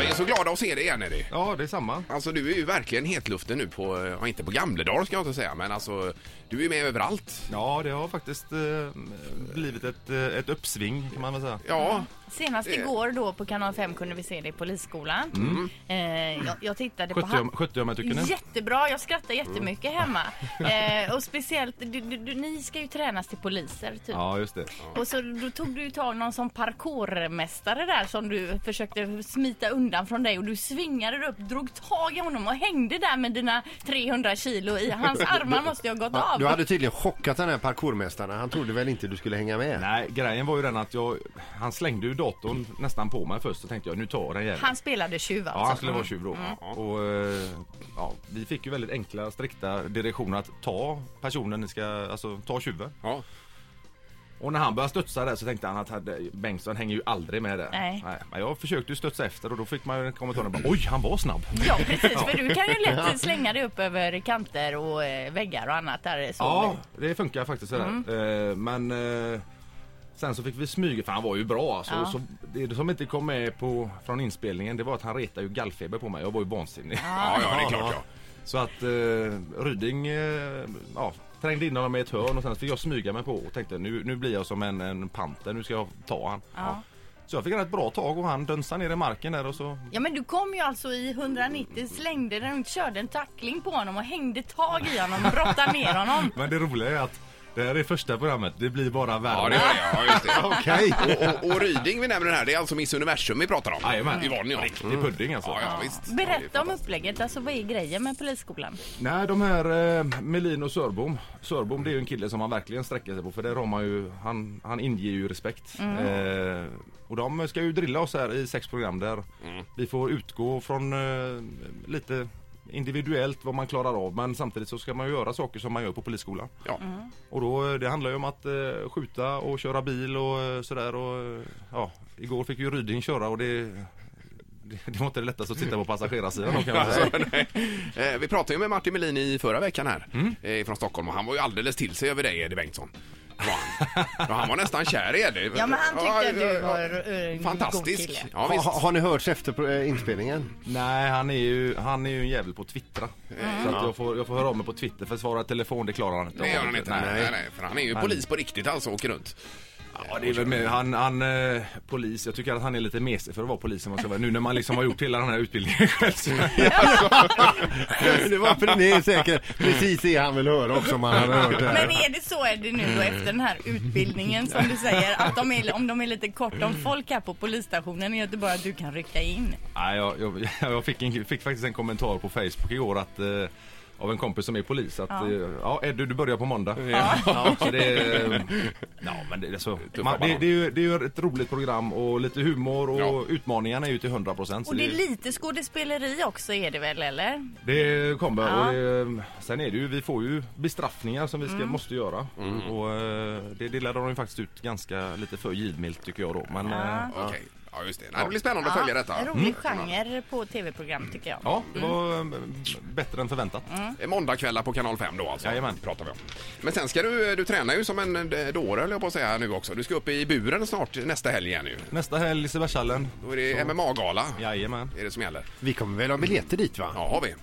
Vi är så glada att se dig igen Eddie. Ja, det är samma. Alltså du är ju verkligen hetluften nu på, eh, ja inte på Gamledal ska jag inte säga, men alltså du är ju med överallt. Ja, det har faktiskt eh, blivit ett, eh, ett uppsving kan man väl säga. Ja, Senast Eh. igår då på Kanal 5 kunde vi se det i Polisskolan. Mm. Eh, jag, jag tittade på 70, han. 70 om jag tycker nu. Jättebra, jag skrattar Mm. jättemycket hemma. Eh, och speciellt, du, du, du, ni ska ju tränas till poliser typ. Ja, just det. Och så då tog du ju tag någon som parkourmästare där som du försökte smita undan från dig och du svingade dig upp, drog tag i honom och hängde där med dina 300 kilo i hans armar måste ju ha gått Ja, av. Du hade tydligen chockat den här parkourmästaren. Han trodde väl inte du skulle hänga med? Nej, grejen var ju den att jag, han slängde ju datorn nästan på mig först så tänkte jag nu tar den jäveln. Han spelade tjuv alltså. Ja, han skulle vara tjuv då. Och, eh, ja, vi fick ju väldigt enkla, strikta direktioner att ta personen, ni ska, alltså ta tjuven. ja. Och när han började studsa där så tänkte han att hade, Bengtsson hänger ju aldrig med där. Nej. men jag försökte ju studsa efter och då fick man ju en kommentar och bara oj, han var snabb. Ja precis, för du kan ju lätt slänga dig upp över kanter och eh, väggar och annat där. Så. Ja, det funkar faktiskt sådär. Mm. Eh, men eh, sen så fick vi smyga, för han var ju bra alltså. Ja. Och så, det som inte kom med på, från inspelningen det var att han retade ju gallfeber på mig. Jag var ju vansinnig. ja, ja det är klart ja. Så att eh, Ryding eh, ja, trängde in honom i ett hörn och sen fick jag smyga mig på och tänkte nu, nu blir jag som en, en panter, nu ska jag ta han. Ja. Så jag fick han ett bra tag och han dönsade ner i marken där och så Ja men du kom ju alltså i 190, slängde den, körde en tackling på honom och hängde tag i honom, brottade ner honom. Men det roliga är att det här är första programmet, det blir bara värre. Ja, det var det. Ja, just det. Okej. Och, och, och Ryding vi nämner här, det är alltså Miss Universum vi pratar om. Jajamän. I vanlig ordning. Det är pudding alltså. Ja, ja, visst. Det Berätta är om upplägget, alltså vad är grejen med polisskolan? Nej, de här eh, Melin och Sörbom. Sörbom det är ju en kille som man verkligen sträcker sig på för där har man ju, han, han inger ju respekt. Eh, och de ska ju drilla oss här i sex program där vi får utgå från eh, lite individuellt vad man klarar av men samtidigt så ska man ju göra saker som man gör på polisskolan. Ja. Och då, eh, det handlar ju om att eh, skjuta och köra bil och eh, sådär och eh, ja, igår fick ju Ryding köra och det det, det var inte det lättaste att sitta på passagerarsidan då kan man säga. Alltså, nej. Eh, Vi pratade ju med Martin Melin i förra veckan här eh, från Stockholm och han var ju alldeles till sig över dig Eddie Bengtsson. Var han. Ja, han var nästan kär i Eddie. Ja men han tyckte att ja, du ja. var eh, en god Fantastisk. kille. Ja, Ha, visst. ha- har ni hörts efter pro- eh, inspelningen? Nej, han är ju, han är ju en jävel på att twittra. Så att jag, får, jag får höra av mig på Twitter för svara i telefon det klarar han inte. Det gör av. han inte. Mm. Nej. Nej. Nej, nej, för han är ju polis på riktigt alltså och åker runt. Ja, det är väl med, han, han eh, polis, jag tycker att han är lite mesig för att vara polis om man ska vara. Nu när man liksom har gjort hela den här utbildningen själv. så- Det var för det är säkert precis det han vill höra också om han hade hört det Men här. är det så är det nu då efter den här utbildningen som du säger att de är, om de är lite kort om folk här på polisstationen i Göteborg att du kan rycka in? Nej, jag, jag, jag fick, en, fick faktiskt en kommentar på Facebook igår att eh, av en kompis som är polis att ja, Ja. eh, ja Eddie du börjar på måndag. Ja. så det, är- ja, men det, är så, man, det, det, är ju, det är ju ett roligt program och lite humor och Ja. utmaningarna är ju till 100 procent. Och det är lite skådespeleri också är det väl eller? Det kommer. Ja. Och det, sen är det ju, vi får ju bestraffningar som vi ska, måste göra. Och eh, det delade de ju faktiskt ut ganska lite för givmilt tycker jag då. Men eh, Okej. Ja, just det. Nej, det blir spännande att följa detta. Mm. En rolig genre på tv-program tycker jag. ja, det var eh, bättre än förväntat. Eh, Måndagkvällar på Kanal 5 då alltså. Jajamän. Pratar vi om. Men sen ska du, du tränar ju som en eh, dåre höll jag på att säga nu också. Du ska upp i buren snart nästa helg igen nu. Nästa helg Lisebergshallen. Då är det MMA-gala. Jajamän. Är det som gäller? Vi kommer väl ha biljetter dit va? Ja, har vi. Ja,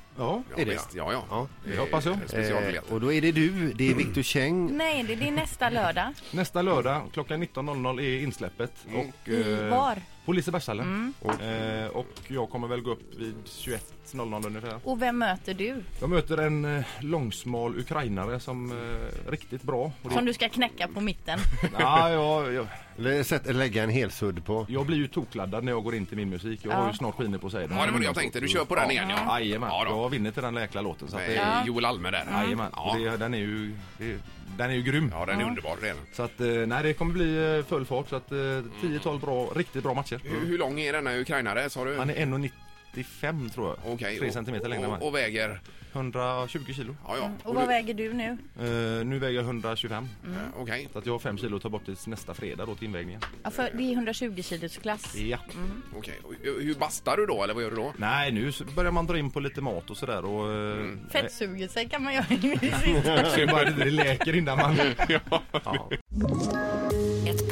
Ja, är det? visst. Ja, ja. Ja. Det hoppas jag. Eh, Specialbiljetter. och då är det du, det är Victor Cheng. Nej, det är det nästa lördag. Nästa lördag klockan 19.00 är insläppet. Och, I var? På Lisebergshallen. Eh, och jag kommer väl gå upp vid 21.00 ungefär. Och vem möter du? Jag möter en eh, långsmal ukrainare som eh, riktigt bra. Och det- Som du ska knäcka på mitten. Ja, jag, jag, Lä- sätt- Lägga en helsudd på. Jag blir ju tokladdad när jag går in till min musik. Jag har ju snart skiner på sig. Ja, det var det jag tänkte. Du kör på den igen, ja. Jajamän, Ja, jag då. har vinner till den där jäkla låten. Så att det, Med Joel Alme där. Jajamän, Ja. Och det, den är ju, det, den är ju grym. Ja, den är underbar redan. Så att, eh, nej, det kommer bli eh, Mm. full fart. Så att eh, 10-12 bra, riktigt bra matcher. Hur, hur lång är denna ukrainare sa du? Han är 1,90 1,85 tror jag. Okej, Tre och- centimeter längre än och, mig. och väger... 120 kilo. Ja, ja. Mm, Och vad väger du nu? Eh, nu väger jag 125. Eh, Okej, Så att jag har 5 kilo att ta bort till nästa fredag då till invägningen. Ja, för det är 120 kilos klass. Ja. okej. Och Hur hur bastar du då, eller vad gör du då? Nej, nu så börjar man dra in på lite mat och sådär och... eh, Mm. Fettsuger sig kan man göra i medicin. Så det är bara det det läker innan man... ja. Ett